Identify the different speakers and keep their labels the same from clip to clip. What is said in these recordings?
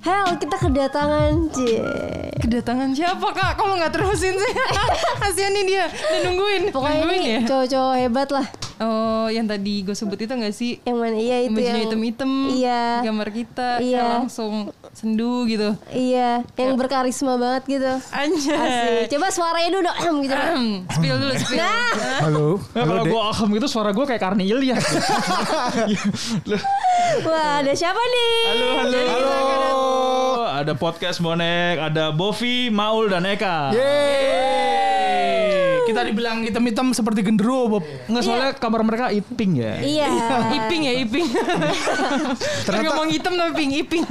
Speaker 1: Hel, kita kedatangan Cie.
Speaker 2: Kedatangan siapa kak? Kalau nggak terusin sih, kasihan nih dia. Dia nungguin,
Speaker 1: Pokoknya
Speaker 2: nungguin
Speaker 1: ini
Speaker 2: ya.
Speaker 1: cowok-cowok hebat lah.
Speaker 2: Oh, yang tadi gue sebut itu nggak sih?
Speaker 1: Yang mana iya itu
Speaker 2: Bajunya
Speaker 1: yang
Speaker 2: hitam-hitam,
Speaker 1: Iya.
Speaker 2: gambar kita,
Speaker 1: Iya.
Speaker 2: yang langsung sendu gitu.
Speaker 1: Iya, yang berkarisma banget gitu.
Speaker 2: Anjay.
Speaker 1: Asik. Coba suaranya dulu ahem, gitu.
Speaker 2: Ahem, spill dulu, spill.
Speaker 1: Nah,
Speaker 3: Halo. Halo,
Speaker 4: Ya, kalau
Speaker 3: Dek.
Speaker 4: gue ahem gitu suara gue kayak Karni Ilyas.
Speaker 1: wah ada siapa nih?
Speaker 4: halo, halo, halo. Ada podcast bonek, ada Bovi, Maul dan Eka.
Speaker 3: Yeay.
Speaker 5: Kita dibilang hitam-hitam seperti genderuwo, Bob.
Speaker 4: Nggak soalnya kamar mereka iping ya.
Speaker 1: Iya.
Speaker 2: Iping ya, iping. Ternyata...
Speaker 3: Ternyata
Speaker 2: ngomong hitam tapi ping, iping.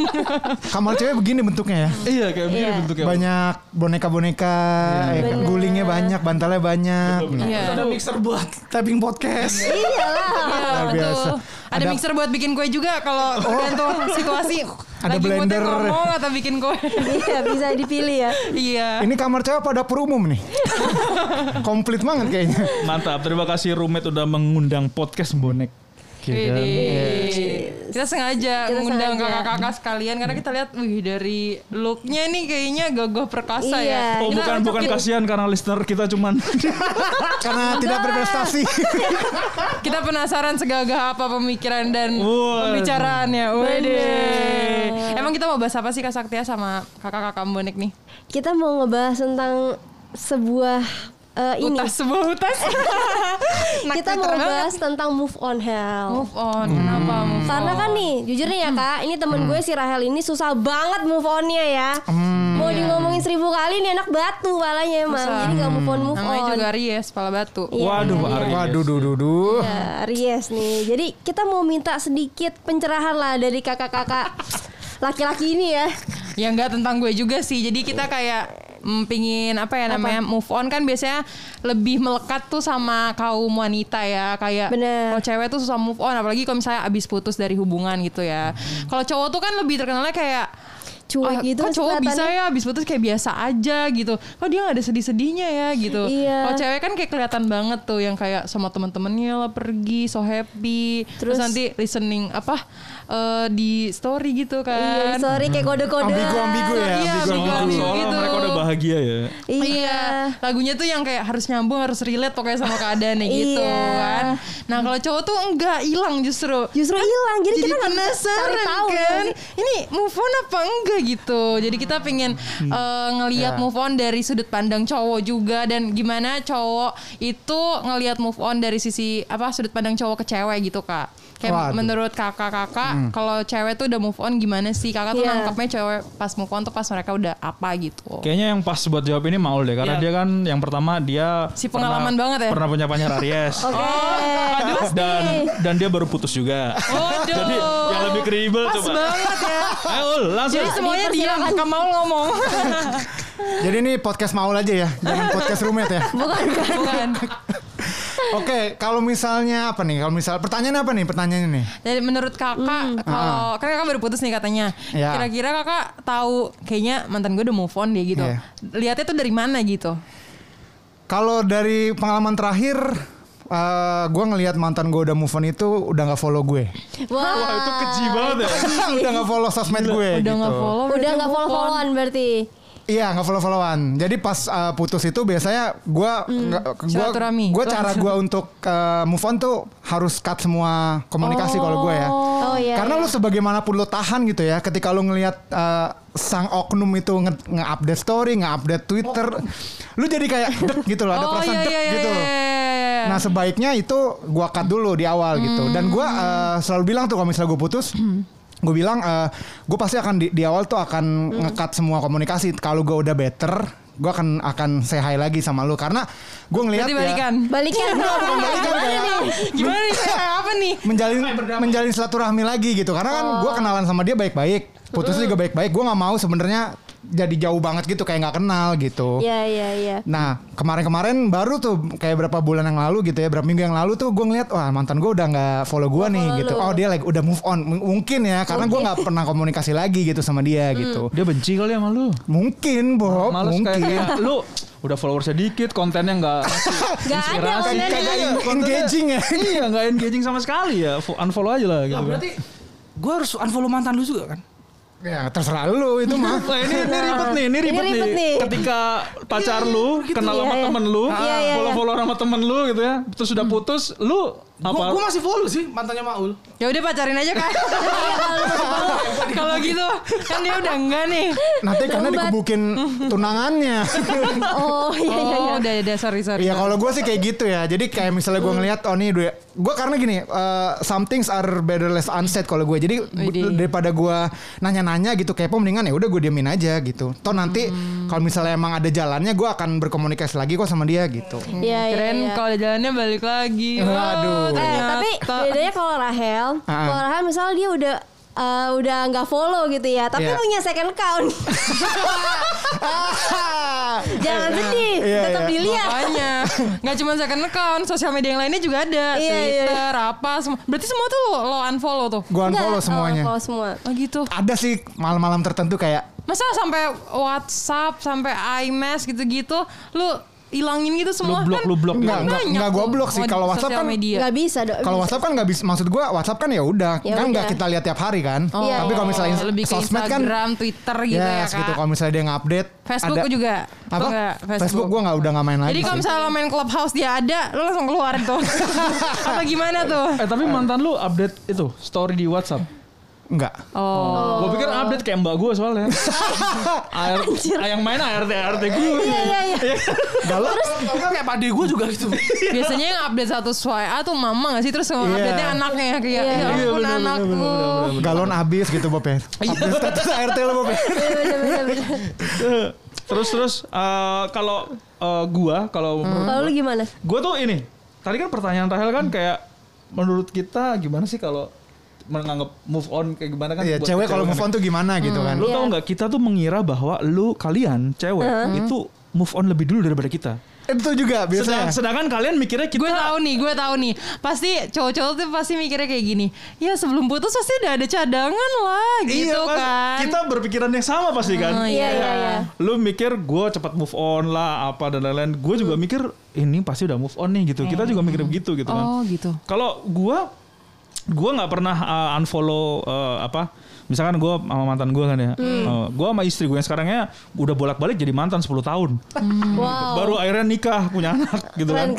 Speaker 3: kamar cewek begini bentuknya ya.
Speaker 4: Iya kayak begini
Speaker 1: Iya.
Speaker 4: bentuknya.
Speaker 3: Banyak boneka-boneka,
Speaker 5: Iya,
Speaker 3: ya kan?
Speaker 1: Bener.
Speaker 3: gulingnya banyak, bantalnya banyak.
Speaker 2: Iya.
Speaker 5: Ada mixer buat typing podcast.
Speaker 1: Iya lah.
Speaker 2: Iya,
Speaker 3: Luar biasa.
Speaker 2: betul. Ada,
Speaker 3: Ada- Oh.
Speaker 2: mixer buat bikin kue juga kalau tergantung situasi.
Speaker 3: Ada
Speaker 2: Lagi moodnya
Speaker 3: blender.
Speaker 2: ngomong atau bikin kue.
Speaker 1: Iya, bisa dipilih ya.
Speaker 2: iya.
Speaker 3: Ini kamar cewek pada dapur umum nih. Komplit banget kayaknya.
Speaker 4: Mantap, terima kasih Rumet udah mengundang podcast bonek. Gitu.
Speaker 2: Iya. Widih. Kita sengaja
Speaker 1: Kita
Speaker 2: ngundang
Speaker 1: sengaja.
Speaker 2: kakak-kakak sekalian karena kita lihat wih dari looknya nih kayaknya gagah perkasa
Speaker 1: Iya.
Speaker 2: ya.
Speaker 4: Oh
Speaker 2: Kita
Speaker 4: bukan bukan
Speaker 2: kita-
Speaker 4: kasihan karena listener kita cuman
Speaker 3: Karena tidak berprestasi.
Speaker 2: Kita penasaran segagah apa pemikiran dan
Speaker 4: Wah.
Speaker 2: pembicaraannya. Widih. Emang kita mau bahas apa sih Kak Saktia sama kakak-kakak bonek nih?
Speaker 1: Kita mau ngebahas tentang sebuah eh, ini.
Speaker 2: Utas sebuah utas. Nak
Speaker 1: Kita mau
Speaker 2: Twitter banget.
Speaker 1: bahas tentang move on hell.
Speaker 2: move on. Kenapa
Speaker 4: Hmm.
Speaker 2: move
Speaker 1: Karena kan nih, jujur nih
Speaker 2: Hmm.
Speaker 1: ya kak, ini temen gue si Rahel ini susah banget move onnya ya. Mau di ngomongin seribu kali nih anak batu palanya emang,
Speaker 2: Hmm. Iya. Susah. Hmm.
Speaker 1: jadi gak move on move
Speaker 2: Namanya
Speaker 1: on.
Speaker 2: juga Ries, pala batu.
Speaker 1: Iya.
Speaker 4: Waduh, Aries.
Speaker 3: Waduh, duh, duh, duh.
Speaker 1: Ya, Ries nih. Jadi kita mau minta sedikit pencerahan lah dari kakak-kakak laki-laki ini ya.
Speaker 2: Ya nggak tentang gue juga sih. Jadi kita kayak mm, pingin apa ya namanya move on kan biasanya lebih melekat tuh sama kaum wanita ya kayak
Speaker 1: Bener.
Speaker 2: kalau cewek tuh susah move on apalagi kalau misalnya abis putus dari hubungan gitu ya. Kalau cowok tuh kan lebih terkenalnya kayak
Speaker 1: Cuek
Speaker 2: "Ah,
Speaker 1: gitu
Speaker 2: kok cowok bisa
Speaker 1: kelihatannya."
Speaker 2: ya abis putus kayak biasa aja gitu kok dia nggak ada sedih-sedihnya ya gitu
Speaker 1: Iya.
Speaker 2: kalau cewek kan kayak kelihatan banget tuh yang kayak sama temen-temennya lah pergi so happy terus,
Speaker 1: Terus-
Speaker 2: nanti listening apa eh, di story gitu
Speaker 1: Iya,
Speaker 2: kan
Speaker 1: sorry kayak kode-kode.
Speaker 3: Ambigu-ambigu ya.
Speaker 2: Iya,
Speaker 4: Soalnya-
Speaker 2: ambigu-ambigu
Speaker 4: soalnya
Speaker 2: gitu.
Speaker 4: mereka udah bahagia ya.
Speaker 1: Iya.
Speaker 2: Iya, lagunya tuh yang kayak harus nyambung, harus relate pokoknya sama keadaannya gitu
Speaker 1: Iya.
Speaker 2: kan. Nah kalau cowok tuh enggak hilang justru.
Speaker 1: Justru hilang, jadi, kita nggak bisa
Speaker 2: penasaran
Speaker 1: cari tahu
Speaker 2: kan,
Speaker 1: sih.
Speaker 2: ini move on apa enggak gitu. Jadi kita pengen eh, ngelihat move on dari sudut pandang cowok juga dan gimana cowok itu ngelihat move on dari sisi apa sudut pandang cowok ke cewek gitu kak. Kayak
Speaker 3: Waduh.
Speaker 2: menurut kakak-kakak, kalau cewek tuh udah move on gimana sih? Kakak tuh
Speaker 1: Iya.
Speaker 2: nangkepnya cewek pas move on tuh pas mereka udah apa gitu.
Speaker 4: Kayaknya yang pas buat jawab ini Maul deh karena
Speaker 2: Iya.
Speaker 4: dia kan yang pertama dia
Speaker 2: Si
Speaker 4: pernah-
Speaker 2: pengalaman banget ya. Oh,
Speaker 4: Pernah punya pacar Aries.
Speaker 1: Oke. Pasti.
Speaker 4: dan dan dia baru putus juga.
Speaker 2: Waduh.
Speaker 4: Jadi yang lebih kredibel
Speaker 2: Pas
Speaker 4: coba.
Speaker 2: banget ya.
Speaker 4: Ayo langsung.
Speaker 2: Jadi semuanya diam, gak mau ngomong.
Speaker 3: Jadi ini podcast maul aja ya, jangan podcast roommate ya.
Speaker 1: Bukan kan?
Speaker 2: Bukan.
Speaker 3: Oke, kalau misalnya apa nih? Kalau misal pertanyaan apa nih? Pertanyaannya nih.
Speaker 2: Jadi menurut
Speaker 3: Hmm.
Speaker 2: kakak,
Speaker 3: Ah,
Speaker 2: kalau kan kakak baru putus nih katanya.
Speaker 3: Iya.
Speaker 2: Kira-kira kakak tahu kayaknya mantan gue udah move on deh gitu.
Speaker 3: Iya.
Speaker 2: Lihatnya tuh dari mana gitu?
Speaker 3: Kalau dari pengalaman terakhir eh gue ngelihat mantan gue udah move on itu udah nggak follow gue,
Speaker 1: Wah,
Speaker 4: Wah itu keji banget ya.
Speaker 3: udah nggak follow sosmed gue.
Speaker 2: Udah
Speaker 3: gitu.
Speaker 2: nggak follow,
Speaker 1: Udah
Speaker 2: berarti
Speaker 1: nggak
Speaker 2: move on.
Speaker 1: follow-followan berarti.
Speaker 3: Iya nggak follow followan. Jadi pas eh, putus itu biasanya gue
Speaker 2: Hmm,
Speaker 3: nggak- gue
Speaker 2: Silaturahmi.
Speaker 3: gue cara gue untuk eh, move on tuh harus cut semua komunikasi kalau gue ya.
Speaker 1: Oh iya.
Speaker 3: Karena lu sebagaimanapun lu tahan gitu ya, ketika lu ngelihat eh, sang oknum itu nge- nge-update story, nge-update Twitter, lu jadi kayak dek gitu loh, ada
Speaker 2: Oh
Speaker 3: perasaan
Speaker 2: iya
Speaker 3: dek
Speaker 2: iya iya.
Speaker 3: gitu.
Speaker 2: iya, iya. Hmm.
Speaker 3: Nah sebaiknya itu gua cut dulu di awal gitu. Dan gua eh, selalu bilang tuh kalau misalnya gue putus, gue bilang gue pasti akan di, di awal tuh akan
Speaker 2: Hmm.
Speaker 3: ngekat semua komunikasi. Kalau gue udah better, gue akan akan say hi lagi sama lu karena gue ngelihat
Speaker 2: Berarti
Speaker 3: ya
Speaker 2: balikan.
Speaker 1: Balikan.
Speaker 3: balikan ya. kayak
Speaker 2: Gimana nih? Kayak apa nih?
Speaker 3: ya, menjalin menjalin silaturahmi lagi gitu karena kan
Speaker 2: Oh.
Speaker 3: gue kenalan sama dia baik-baik putus
Speaker 2: Hmm.
Speaker 3: juga baik-baik gue nggak mau sebenarnya jadi jauh banget gitu kayak nggak kenal gitu
Speaker 1: Iya, iya, iya.
Speaker 3: Nah kemarin-kemarin baru tuh kayak berapa bulan yang lalu gitu ya berapa minggu yang lalu tuh gue ngeliat wah mantan gue udah nggak follow gue nih
Speaker 1: follow
Speaker 3: gitu
Speaker 1: lu.
Speaker 3: oh dia like udah move on M- mungkin ya karena gue nggak pernah komunikasi lagi gitu sama dia gitu
Speaker 4: Dia benci kali sama lu.
Speaker 3: mungkin Bob
Speaker 4: Males kayak,
Speaker 3: mungkin
Speaker 4: kayak Oh, Iya, lu udah followersnya dikit, kontennya nggak
Speaker 1: Gak ada
Speaker 4: Inspirasi.
Speaker 1: online.
Speaker 3: kagak in- engaging ya
Speaker 4: iya nggak engaging sama sekali ya, Fo- unfollow aja lah gitu.
Speaker 5: Berarti gue harus unfollow mantan lu juga kan?
Speaker 3: Ya terserah lu itu mah.
Speaker 4: Wah, ini, ini ribet nih, ini ribet,
Speaker 1: ribet nih.
Speaker 4: Ketika pacar lu kenal sama
Speaker 1: Iya, iya.
Speaker 4: temen lu,
Speaker 1: Iya, iya, Hmm. iya.
Speaker 4: follow-follow sama temen lu gitu ya, terus sudah putus, lu apa?
Speaker 5: Gua, gua masih follow sih mantannya Maul.
Speaker 2: Ya udah pacarin aja kan. Kalau gitu kan dia udah enggak nih.
Speaker 3: Nanti karena
Speaker 1: Lambat.
Speaker 3: dikebukin tunangannya.
Speaker 1: Oh iya iya iya.
Speaker 2: Oh, udah udah sorry sorry.
Speaker 3: Iya kalau gue sih kayak gitu ya. Jadi kayak misalnya gue ngelihat oh nih gue gue karena gini eh, some things are better less unsaid kalau gue.
Speaker 2: Oh,
Speaker 3: Jadi gua-
Speaker 2: Widih.
Speaker 3: daripada gue nanya-nanya gitu kepo mendingan ya udah gue diamin aja gitu. Toh nanti
Speaker 2: Hmm.
Speaker 3: kalau misalnya emang ada jalannya gue akan berkomunikasi lagi kok sama dia gitu.
Speaker 1: Iya iya.
Speaker 2: Keren
Speaker 1: iya.
Speaker 2: kalau jalannya balik lagi.
Speaker 3: Waduh.
Speaker 2: Wah,
Speaker 3: Eh,
Speaker 1: Eh,
Speaker 2: ternyata.
Speaker 1: tapi bedanya kalau Rahel,
Speaker 3: Ah.
Speaker 1: kalau Rahel misalnya dia udah eh, udah nggak follow gitu ya, tapi
Speaker 3: Iya.
Speaker 1: punya second account. Jangan sedih,
Speaker 3: Iya,
Speaker 1: tetap
Speaker 3: iya.
Speaker 1: dilihat.
Speaker 2: Makanya Gak cuma second account Sosial media yang lainnya juga ada
Speaker 1: Iya, iya, iya.
Speaker 2: Twitter apa semua Berarti semua tuh lo unfollow tuh
Speaker 3: Gue
Speaker 1: Enggak,
Speaker 3: unfollow
Speaker 1: oh,
Speaker 3: semuanya.
Speaker 1: unfollow semua.
Speaker 2: Oh gitu
Speaker 3: Ada sih malam-malam tertentu kayak
Speaker 2: Masa sampai WhatsApp Sampai iMess gitu-gitu Lu hilangin gitu semua kan
Speaker 4: blok, lu blok,
Speaker 2: kan
Speaker 3: Enggak, enggak,
Speaker 2: banyak
Speaker 3: enggak gua
Speaker 2: tuh.
Speaker 3: blok sih.
Speaker 2: Oh, di
Speaker 3: Kalau WhatsApp
Speaker 2: sosial
Speaker 3: kan-
Speaker 2: media.
Speaker 1: Nggak bisa dong.
Speaker 3: kalau WhatsApp kan nggak bisa maksud gue WhatsApp kan ya udah
Speaker 1: Ya
Speaker 3: kan
Speaker 1: udah.
Speaker 3: nggak kita lihat tiap hari kan.
Speaker 2: Oh,
Speaker 3: Tapi kalau misalnya ins-
Speaker 2: lebih ke
Speaker 3: sosmed kan
Speaker 2: Instagram, Twitter gitu ya
Speaker 3: yes,
Speaker 2: kak.
Speaker 3: gitu. Kalau misalnya dia nge-update
Speaker 2: Facebook
Speaker 3: ada-
Speaker 2: gua juga.
Speaker 3: Apa?
Speaker 2: Gua nggak
Speaker 3: Facebook, gue nggak udah nggak main lagi.
Speaker 2: Jadi kalau
Speaker 3: sih.
Speaker 2: misalnya lo main clubhouse dia ada, lo langsung keluar tuh. apa gimana tuh?
Speaker 4: Eh tapi mantan lu update itu story di WhatsApp.
Speaker 3: Enggak.
Speaker 2: Oh,
Speaker 4: Gua pikir update kayak mbak gue soalnya. AR, yang main ART ART gue.
Speaker 1: Iya iya iya.
Speaker 3: Galau.
Speaker 5: Enggak kayak pade gua juga gitu.
Speaker 2: biasanya yang update satu suai ah tuh mama gak sih terus yeah. update-nya anaknya kayak ya
Speaker 1: Iya,
Speaker 2: ampun anakku.
Speaker 3: Galon habis gitu Bob ya. Update status ART lo Bob ya.
Speaker 1: iya,
Speaker 3: Iya.
Speaker 4: Terus terus eh, kalau eh, gua kalau
Speaker 1: Hmm. Kalau lu gimana?
Speaker 4: Gue tuh ini, tadi kan pertanyaan Rahel
Speaker 3: Hmm.
Speaker 4: kan kayak menurut kita gimana sih kalau menganggap move on kayak gimana kan?
Speaker 3: Iya,
Speaker 4: buat
Speaker 3: cewek kalau move on tuh gimana gitu kan.
Speaker 4: Lu tau
Speaker 2: Iya.
Speaker 4: nggak kita tuh mengira bahwa lu kalian cewek itu move on lebih dulu daripada kita.
Speaker 3: Hmm. Itu juga
Speaker 4: Sedang-
Speaker 3: biasanya.
Speaker 4: sedangkan kalian mikirnya kita
Speaker 2: Gue tahu nih, gue tahu nih. Pasti cowok-cowok tuh pasti mikirnya kayak gini. Ya sebelum putus pasti udah ada cadangan lah
Speaker 4: Iya,
Speaker 2: gitu
Speaker 4: pas-
Speaker 2: kan.
Speaker 4: Kita berpikiran yang sama pasti
Speaker 2: Oh,
Speaker 4: kan.
Speaker 1: Iya iya iya.
Speaker 4: Lu mikir gue cepat move on lah apa dan lain-lain. Gue juga
Speaker 2: Hmm.
Speaker 4: mikir ini pasti udah move on nih gitu. Kita juga mikir begitu gitu kan.
Speaker 2: Iya. Oh gitu.
Speaker 4: Kalau gua gua nggak pernah uh, unfollow uh, apa misalkan gua sama mantan gua kan ya. Uh, gua sama istri gua yang sekarangnya udah bolak-balik jadi mantan 10 tahun.
Speaker 3: Hmm.
Speaker 1: Wow.
Speaker 4: Baru akhirnya nikah punya anak gitu kan.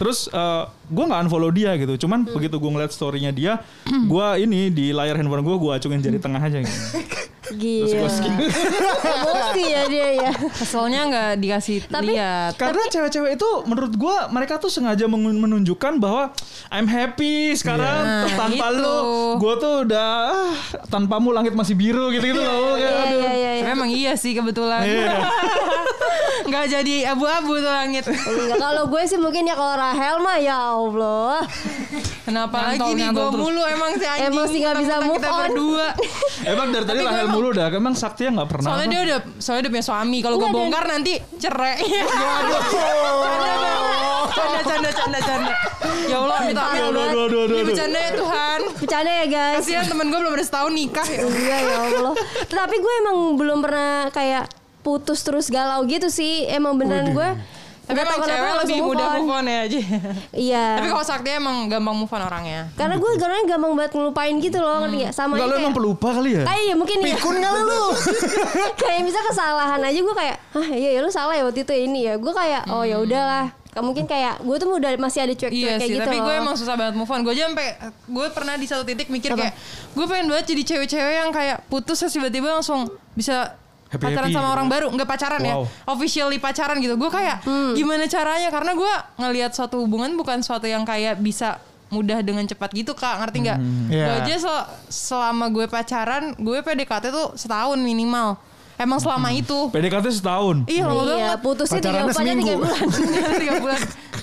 Speaker 4: Terus uh, gua nggak unfollow dia gitu. Cuman begitu gua ngeliat story-nya dia, gua ini di layar handphone gua gua acungin jari tengah aja gitu.
Speaker 1: Gila. Emosi ya dia ya.
Speaker 2: Keselnya nggak dikasih
Speaker 1: Tapi-
Speaker 2: lihat.
Speaker 4: Karena cewek-cewek itu menurut gua mereka tuh sengaja mengun- menunjukkan bahwa I'm happy sekarang
Speaker 2: Nah,
Speaker 4: tanpa
Speaker 2: gitu.
Speaker 4: lu. Gua tuh udah ah, tanpamu langit masih biru gitu-gitu loh. Kayak,
Speaker 1: Iya iya
Speaker 4: aduh.
Speaker 1: iya.
Speaker 2: Tapi
Speaker 1: iya.
Speaker 2: Emang iya sih kebetulan. Nggak jadi abu-abu tuh langit.
Speaker 1: Enggak, kalau gue sih mungkin ya kalau Rahel mah ya Allah.
Speaker 2: Kenapa
Speaker 5: Nyantol,
Speaker 2: lagi nih
Speaker 5: nyantol
Speaker 2: gue
Speaker 5: terus.
Speaker 2: mulu emang si anjing.
Speaker 1: Emang sih nggak bisa
Speaker 2: mentang-mentang
Speaker 1: move on.
Speaker 2: Kita berdua.
Speaker 4: Emang dari tadi Rahel mulu dah. Emang Saktia nggak pernah.
Speaker 2: Soalnya
Speaker 4: apa?
Speaker 2: dia udah soalnya dia punya suami. Kalau gue
Speaker 1: Iya, dan-
Speaker 2: bongkar nanti cerai. canda canda canda canda. Ya Allah minta amin.
Speaker 1: Aduh,
Speaker 2: Allah.
Speaker 1: aduh,
Speaker 4: aduh, aduh,
Speaker 2: Ini
Speaker 4: aduh.
Speaker 2: bercanda ya Tuhan.
Speaker 1: Bercanda ya guys.
Speaker 2: Kasihan temen gue belum ada setahun nikah. ya.
Speaker 1: Iya ya Allah. Tapi gue emang belum pernah kayak putus terus galau gitu sih. Emang beneran gue.
Speaker 2: Tapi
Speaker 1: nggak tahu
Speaker 2: emang
Speaker 1: kenapa
Speaker 2: cewek
Speaker 1: langsung
Speaker 2: lebih
Speaker 1: move
Speaker 2: mudah
Speaker 1: on.
Speaker 2: move on ya aja.
Speaker 1: Iya.
Speaker 2: Tapi kalau Sakti emang gampang move on orangnya.
Speaker 1: Karena gue orangnya gampang banget ngelupain gitu loh ngerti nggak? Sama
Speaker 4: Enggak lu
Speaker 1: kayak
Speaker 4: emang pelupa kali ya?
Speaker 1: kayak ya mungkin ya.
Speaker 3: Pikun nggak lu?
Speaker 1: kayak misalnya kesalahan aja gue kayak ah iya ya lu salah ya waktu itu ya ini ya gue kayak oh ya udahlah Kayak mungkin kayak gue tuh udah masih ada cuek-cuek
Speaker 2: Iya
Speaker 1: kayak
Speaker 2: sih,
Speaker 1: gitu
Speaker 2: tapi gue
Speaker 1: loh.
Speaker 2: emang susah banget move on. Gue aja sampai gue pernah di satu titik mikir kayak gue pengen banget jadi cewek-cewek yang kayak putus terus tiba-tiba langsung bisa
Speaker 4: Happy-happy
Speaker 2: pacaran sama
Speaker 4: gitu.
Speaker 2: orang baru, nggak pacaran ya,
Speaker 4: Wow.
Speaker 2: officially pacaran gitu. Gue kayak gimana caranya? Karena gue ngelihat suatu hubungan bukan suatu yang kayak bisa mudah dengan cepat gitu kak ngerti nggak?
Speaker 4: Hmm.
Speaker 3: Iya.
Speaker 2: Gue aja sel- selama gue pacaran, gue PDKT tuh setahun minimal. Emang selama
Speaker 4: Hmm.
Speaker 2: itu.
Speaker 4: PDKT setahun.
Speaker 2: Iya, lama
Speaker 1: iya
Speaker 2: banget.
Speaker 1: putusnya tiga
Speaker 3: Pacarannya
Speaker 1: bulan tiga
Speaker 3: seminggu.
Speaker 1: bulan
Speaker 2: Tiga bulan.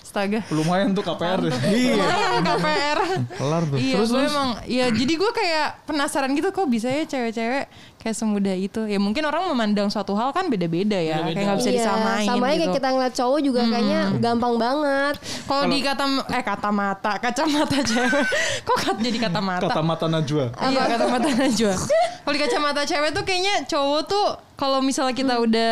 Speaker 2: Astaga.
Speaker 4: Lumayan tuh KPR.
Speaker 3: Iya.
Speaker 2: Lumayan KPR.
Speaker 4: Kelar tuh.
Speaker 2: Iya, gue emang ya jadi gue kayak penasaran gitu kok bisa ya cewek-cewek kayak semudah itu. Ya mungkin orang memandang suatu hal kan beda-beda ya, kayak nggak bisa
Speaker 1: Iya,
Speaker 2: disamain.
Speaker 1: sama aja kayak
Speaker 2: gitu.
Speaker 1: kita ngeliat cowok juga kayaknya gampang banget
Speaker 2: Kalau di kata eh kata mata, kacamata cewek, kok kat- jadi kata mata?
Speaker 4: Kata mata Najwa.
Speaker 2: Iya kacamata
Speaker 1: Hmm.
Speaker 2: Najwa. Kalau di kacamata cewek tuh kayaknya cowok tuh kalau misalnya kita udah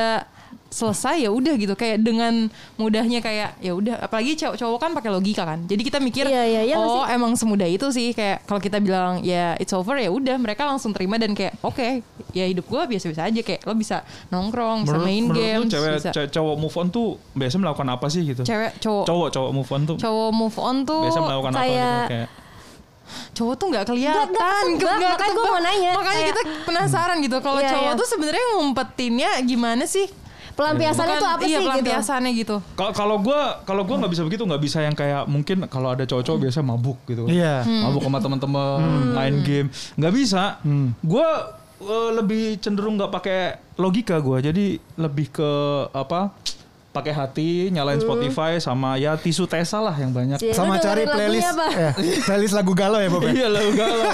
Speaker 2: selesai ya udah gitu kayak dengan mudahnya kayak ya udah apalagi cowok cowok kan pakai logika kan jadi kita mikir
Speaker 1: Iya, iya, iya nggak
Speaker 2: oh emang semudah itu sih kayak kalau kita bilang ya it's over ya udah mereka langsung terima dan kayak oke ya hidup gua biasa-biasa aja kayak lo bisa nongkrong bisa main
Speaker 4: menurut
Speaker 2: game
Speaker 4: lu cewek
Speaker 2: bisa
Speaker 4: ce- cowok move on tuh biasanya melakukan apa sih gitu?
Speaker 2: cewek cowok
Speaker 4: Cowok cowok move on tuh
Speaker 2: cowok move on tuh
Speaker 4: biasanya melakukan apa gitu?
Speaker 1: kayak-
Speaker 4: Kayak
Speaker 2: cowok tuh nggak kelihatan
Speaker 1: Nggak- nggak ketebak,
Speaker 2: nggak
Speaker 1: makanya gua
Speaker 2: ketebak.
Speaker 1: mau nanya.
Speaker 2: makanya
Speaker 1: Kayak-
Speaker 2: kita penasaran gitu kalau
Speaker 1: Iya,
Speaker 2: cowok
Speaker 1: iya.
Speaker 2: tuh sebenarnya ngumpetinnya gimana sih
Speaker 1: Pelampiasannya
Speaker 2: Bukan-
Speaker 1: tuh apa
Speaker 2: iya,
Speaker 1: sih gitu?
Speaker 2: pelampiasannya gitu
Speaker 4: Kalau kalau gue kalau gua nggak bisa begitu nggak bisa yang kayak mungkin kalau ada cowok-cowok biasa mabuk gitu.
Speaker 3: Iya.
Speaker 1: Hmm.
Speaker 4: Mabuk sama teman-teman main game nggak bisa. Gue lebih cenderung nggak pakai logika gue jadi lebih ke apa pakai hati nyalain
Speaker 1: Hmm.
Speaker 4: Spotify sama ya tisu tesa lah yang banyak.
Speaker 1: Cie, Iya, lu
Speaker 3: Sama cari
Speaker 1: dengerin
Speaker 3: playlist
Speaker 1: lagunya apa?
Speaker 6: Iya.
Speaker 3: eh, playlist lagu galau ya Bob. ya?
Speaker 4: Iya lo galau.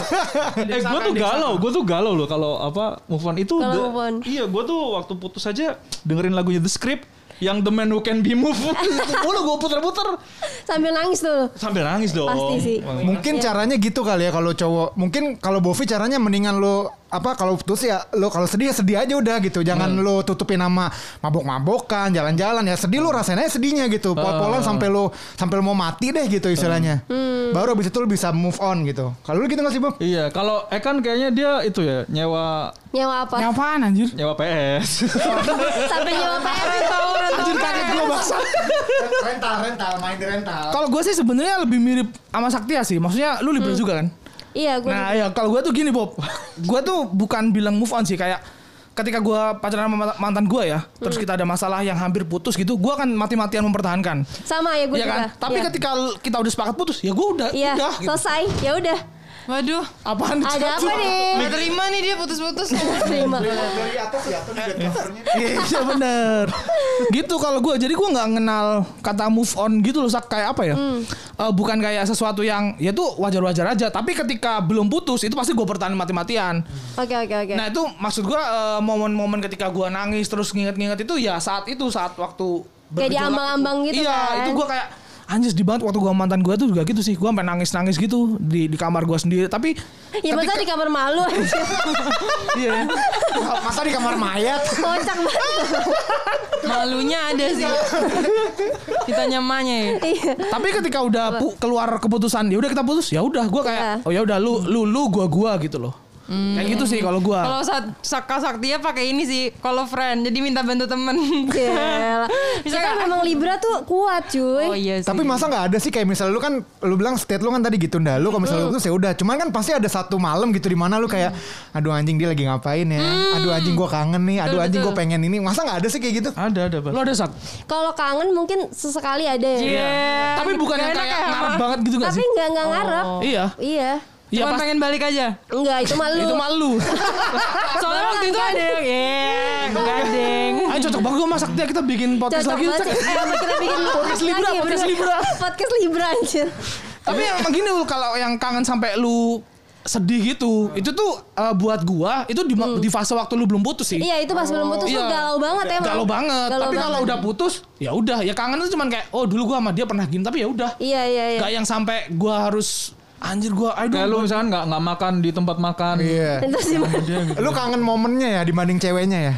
Speaker 4: eh gue tuh galau, gue tuh galau loh kalau apa move on itu.
Speaker 1: Kalau
Speaker 4: the-
Speaker 1: move on.
Speaker 4: Iya gue tuh waktu putus aja dengerin lagunya The Script yang The Man Who Can Be Moved. Mulu gue puter-puter
Speaker 1: Sambil nangis tuh.
Speaker 4: sambil nangis dong.
Speaker 1: Pasti sih.
Speaker 4: Wah,
Speaker 3: Mungkin caranya gitu kali ya kalau cowok. Mungkin kalau Bovi caranya mendingan lo apa kalau putus ya lo kalau sedih ya sedih aja udah gitu. Jangan lo tutupin nama mabok-mabokan, jalan-jalan ya sedih lo rasanya sedihnya gitu. Pol-polan sampai lo sampai lo mau mati deh gitu istilahnya. Baru abis itu lo bisa move on gitu. Kalau lo gitu gak sih Bob?
Speaker 4: Iya, kalau Ekan kayaknya dia itu ya nyewa
Speaker 1: Nyewa apa?
Speaker 6: Nyapaan anjir?
Speaker 4: nyewa PS.
Speaker 1: Sampai nyewa ya? PS.
Speaker 6: Anjir kaget gue baksa.
Speaker 3: rental, rental, main di rental.
Speaker 6: Kalau gue sih sebenarnya lebih mirip sama Saktia sih. Maksudnya lu libra juga kan?
Speaker 1: Iya, gue.
Speaker 6: Nah ya kalau gue tuh gini Bob. gue tuh bukan bilang move on sih. Kayak ketika gue pacaran sama mant- mantan gue ya. Terus
Speaker 1: Hmm.
Speaker 6: kita ada masalah yang hampir putus gitu. Gue akan mati-matian mempertahankan.
Speaker 1: sama ya gue
Speaker 6: Iya
Speaker 1: juga.
Speaker 6: kan? Tapi
Speaker 1: Iya.
Speaker 6: ketika l- kita udah sepakat putus. Ya gue udah.
Speaker 1: Iya,
Speaker 6: Udah. gitu.
Speaker 1: selesai. Ya udah.
Speaker 2: waduh
Speaker 6: Apaan nih,
Speaker 1: Ada apa
Speaker 6: Cak?
Speaker 1: nih?
Speaker 2: Nggak terima nih dia putus-putus
Speaker 1: Terima.
Speaker 3: dari atas ya, tuh di kasarnya.
Speaker 6: Iya bener Gitu kalau gue Jadi gue gak kenal Kata move on gitu loh Sak. Kayak apa ya
Speaker 1: Hmm.
Speaker 6: Eh, Bukan kayak sesuatu yang Ya tuh wajar-wajar aja Tapi ketika belum putus Itu pasti gue pertahanin mati-matian
Speaker 1: Oke, oke, oke.
Speaker 6: Nah itu maksud gue eh, Momen-momen ketika gue nangis Terus nginget-nginget itu Ya saat itu Saat waktu
Speaker 1: Kayak
Speaker 6: bergejolak
Speaker 1: diambang-ambang
Speaker 6: itu.
Speaker 1: gitu
Speaker 6: Iya
Speaker 1: kan?
Speaker 6: itu gue kayak Anjir sedih banget waktu gue mantan gue tuh juga gitu sih Gue sampai nangis-nangis gitu Di, di kamar gue sendiri Tapi
Speaker 1: Ya masa di kamar malu aja.
Speaker 6: Iya
Speaker 3: Masa di kamar mayat?
Speaker 1: Kocak banget.
Speaker 2: malunya ada sih kita nyamanya ya
Speaker 1: Iya.
Speaker 6: Tapi ketika udah pu- keluar keputusan, ya udah kita putus, ya udah gua kayak
Speaker 1: Iya. Hmm.
Speaker 6: oh ya udah lu lu lu gua gua gitu loh. Kayak gitu sih kalau
Speaker 2: kalau
Speaker 6: gua.
Speaker 2: saat Saka Saktia pakai ini sih kalau friend jadi minta bantu temen
Speaker 1: Gila.
Speaker 2: Bisa
Speaker 1: Kita
Speaker 2: kan?
Speaker 1: memang Libra tuh kuat cuy.
Speaker 2: oh iya sih
Speaker 3: Tapi masa nggak ada sih kayak misalnya lu kan lu bilang state lu kan tadi gitu ndak lu kalau misalnya lu tuh ya udah cuman kan pasti ada satu malam gitu di mana lu kayak aduh anjing dia lagi ngapain ya aduh anjing gua kangen nih aduh anjing gua pengen ini masa nggak ada sih kayak gitu
Speaker 4: ada ada bang.
Speaker 6: Lu ada sak.
Speaker 1: Kalau kangen mungkin sesekali ada ya.
Speaker 2: Yeah.
Speaker 6: Iya. Tapi bukan yang
Speaker 2: Gak Iya. enak
Speaker 6: kayak
Speaker 2: ya,
Speaker 6: ngarep
Speaker 2: Mama?
Speaker 6: banget gitu gak
Speaker 1: Tapi
Speaker 6: sih?
Speaker 1: nggak
Speaker 2: Oh.
Speaker 1: nggak ngarep.
Speaker 6: Iya.
Speaker 1: Iya.
Speaker 6: Iya
Speaker 2: Cuman
Speaker 6: pas
Speaker 2: pengen balik aja
Speaker 1: Enggak, itu malu.
Speaker 6: itu malu.
Speaker 2: Soalnya waktu itu ada
Speaker 6: kan?
Speaker 2: yang Iya. yeah, gandeng
Speaker 6: Ayo cocok banget gua masak dia kita bikin podcast
Speaker 1: Eh, Cocok
Speaker 6: lagi
Speaker 1: banget
Speaker 6: Cak.
Speaker 1: sih. Eh, apa kita bikin
Speaker 6: Podcast Libra,
Speaker 1: lagi ya,
Speaker 6: podcast
Speaker 1: bener.
Speaker 6: Libra.
Speaker 1: Podcast Libra anjir.
Speaker 6: Tapi yang emang gini Ul, kalau yang kangen sampai lu sedih gitu, itu tuh eh, buat gua itu di, ma- di fase waktu lu belum putus sih.
Speaker 1: Hmm. Iya, itu pas belum putus tuh
Speaker 6: Iya.
Speaker 1: galau banget emang.
Speaker 6: Galau banget.
Speaker 1: Galau
Speaker 6: tapi kalau
Speaker 1: banget.
Speaker 6: udah putus, ya udah. Ya kangen tuh cuman kayak, oh dulu gua sama dia pernah gini, tapi ya udah.
Speaker 1: Iya, iya, iya.
Speaker 6: Gak yang sampai gua harus anjir gua aduh.
Speaker 4: Kayak lu misalkan nggak nggak makan di tempat makan.
Speaker 3: iya
Speaker 1: Terus gimana?
Speaker 3: lu kangen momennya ya dibanding ceweknya ya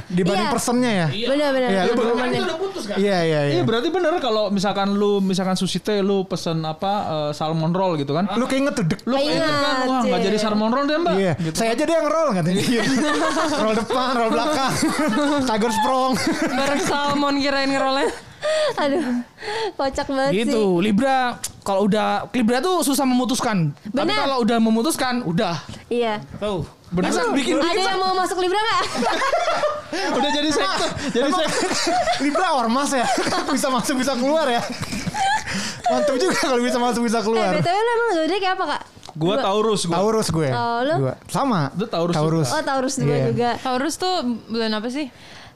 Speaker 1: Iya.
Speaker 3: dibanding personnya ya
Speaker 1: Benar-benar.
Speaker 3: Iya, lu
Speaker 6: Kan
Speaker 3: belum-
Speaker 6: itu udah putus kan?
Speaker 3: iya iya iya
Speaker 4: Iya berarti bener kalau misalkan lu misalkan sushi teh lu pesen apa eh, salmon roll gitu kan.
Speaker 3: lu keinget tuh dek
Speaker 4: Lu
Speaker 1: Iya,
Speaker 4: keinget kan wah nggak jadi salmon roll deh mbak.
Speaker 3: Iya, saya aja deh yang roll katanya. roll depan, roll belakang, tiger sprong.
Speaker 2: bareng salmon kirain ngerolnya
Speaker 1: Aduh, kocak banget
Speaker 6: Gitu,
Speaker 1: sih.
Speaker 6: Libra kalau udah Libra tuh susah memutuskan. Tapi
Speaker 1: Bener.
Speaker 6: kalau udah memutuskan, udah.
Speaker 1: Iya.
Speaker 6: Tuh. Benar. bikin
Speaker 1: Ada yang mau masuk Libra nggak?
Speaker 3: Udah jadi sektor, jadi sektor. Libra ormas ya, bisa masuk bisa keluar ya. Mantap juga kalau bisa masuk bisa
Speaker 1: eh,
Speaker 3: keluar.
Speaker 1: BTW lu emang zodiak kayak apa, Kak?
Speaker 4: Gua Taurus gua.
Speaker 3: Taurus gue.
Speaker 1: Oh, lu?
Speaker 3: Dua. Sama.
Speaker 4: Lu Taurus
Speaker 1: Oh, Taurus dua
Speaker 3: Iya.
Speaker 1: juga.
Speaker 2: Taurus tuh bulan apa sih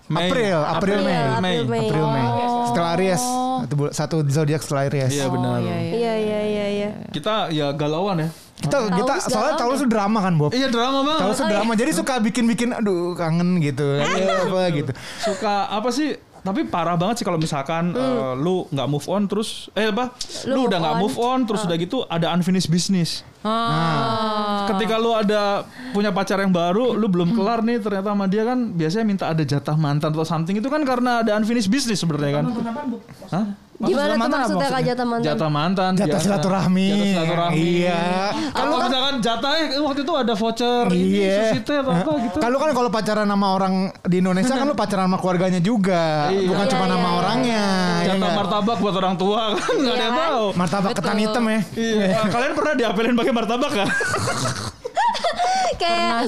Speaker 4: Mei.
Speaker 3: April, April, Mei.
Speaker 1: Iya, April, Mei. Oh,
Speaker 3: April Mei. Setelah Aries, satu, bul- satu zodiak setelah Aries.
Speaker 4: Iya benar.
Speaker 1: Iya, iya, iya, iya.
Speaker 4: Kita ya galauan ya.
Speaker 3: Kita kita
Speaker 1: Taurus
Speaker 3: soalnya
Speaker 1: galau Oh,
Speaker 3: Taurus tuh drama kan, Bob.
Speaker 4: Iya drama banget.
Speaker 3: Taurus tuh drama, jadi suka bikin-bikin aduh kangen gitu. Aduh,
Speaker 4: Iya,
Speaker 3: apa gitu.
Speaker 4: suka apa sih tapi parah banget sih kalau misalkan eh, lu nggak move on terus eh apa
Speaker 1: Hmm. Lu
Speaker 4: lu,
Speaker 1: move
Speaker 4: udah nggak
Speaker 1: on. Ah.
Speaker 4: move on terus udah gitu ada unfinished business
Speaker 2: Oh,
Speaker 1: Nah,
Speaker 2: Ah.
Speaker 4: Ketika lu ada punya pacar yang baru, lu
Speaker 3: Hmm.
Speaker 4: belum kelar nih ternyata sama dia kan biasanya minta ada jatah mantan atau something itu kan karena ada unfinished business sebenarnya kan. Hah?
Speaker 1: Gimana tuh maksudnya Kak
Speaker 6: mantan apa maksudnya?
Speaker 1: jatah mantan?
Speaker 4: Jatah mantan,
Speaker 3: Jatah
Speaker 4: biasa.
Speaker 3: silaturahmi.
Speaker 4: Jatah silaturahmi.
Speaker 3: Iya.
Speaker 4: Kalau misalkan jatahnya eh, waktu itu ada voucher ini
Speaker 3: Iya.
Speaker 4: sushi teh atau apa gitu.
Speaker 3: Kalau kan kalau pacaran sama orang di Indonesia kan lu pacaran sama keluarganya juga,
Speaker 4: Iya.
Speaker 3: bukan cuma
Speaker 1: Iya,
Speaker 3: nama
Speaker 1: iya,
Speaker 3: orangnya. iya
Speaker 4: Jatah
Speaker 3: nggak?
Speaker 4: martabak buat orang tua kan nggak ada yang
Speaker 1: Iya kan?
Speaker 4: tahu.
Speaker 3: martabak ketan
Speaker 2: Betul.
Speaker 3: hitam ya.
Speaker 4: Iya. Kalian pernah diapelin pakai martabak kan?
Speaker 2: Pernah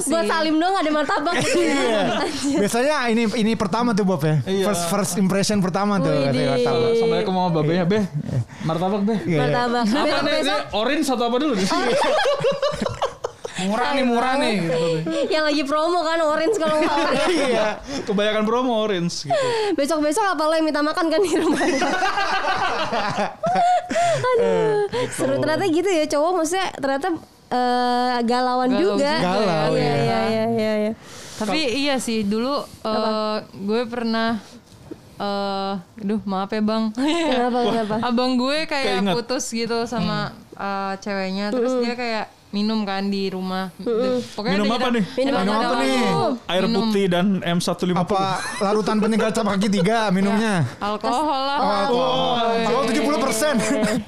Speaker 1: Kayak
Speaker 2: sih.
Speaker 1: buat salim dong ada martabak.
Speaker 3: Iya. Biasanya ini ini pertama tuh Bob ya.
Speaker 4: Iya.
Speaker 3: First first impression pertama tuh. Iya,
Speaker 1: Widih.
Speaker 3: martabak.
Speaker 4: Assalamualaikum sama babenya, Beh. Martabak, Beh.
Speaker 3: Iya.
Speaker 1: Martabak.
Speaker 4: Apa nih?
Speaker 1: Besok-besok
Speaker 4: Ini Orange atau apa dulu?
Speaker 6: Murah nih, murah nih. gitu.
Speaker 1: yang lagi promo kan orange kalau nggak orange.
Speaker 4: Iya. Kebanyakan promo orange gitu.
Speaker 1: Besok-besok apa lo yang minta makan kan di rumah. Aduh, seru ternyata gitu ya cowok maksudnya ternyata eh, galauan
Speaker 2: Galau
Speaker 1: juga.
Speaker 2: juga
Speaker 3: Galau,
Speaker 1: Iya
Speaker 3: ya.
Speaker 1: iya iya iya. iya.
Speaker 2: Tapi iya sih dulu eh, gue pernah eh aduh maaf ya bang
Speaker 1: Kenapa kenapa?
Speaker 2: abang gue kayak
Speaker 4: Keinget.
Speaker 2: putus gitu sama
Speaker 1: Hmm.
Speaker 2: eh, ceweknya terus dia kayak minum kan di rumah pokoknya gitu. ada
Speaker 4: Minum apa
Speaker 2: jeda-
Speaker 4: nih?
Speaker 2: jeda
Speaker 1: Minum
Speaker 2: makan
Speaker 1: apa
Speaker 2: waktu.
Speaker 1: nih?
Speaker 4: Air
Speaker 2: Minum
Speaker 4: putih dan M150.
Speaker 3: Apa larutan peninggal cap kaki tiga minumnya?
Speaker 2: alkohol lah
Speaker 1: Iya.
Speaker 3: Oh, alkohol 70 persen.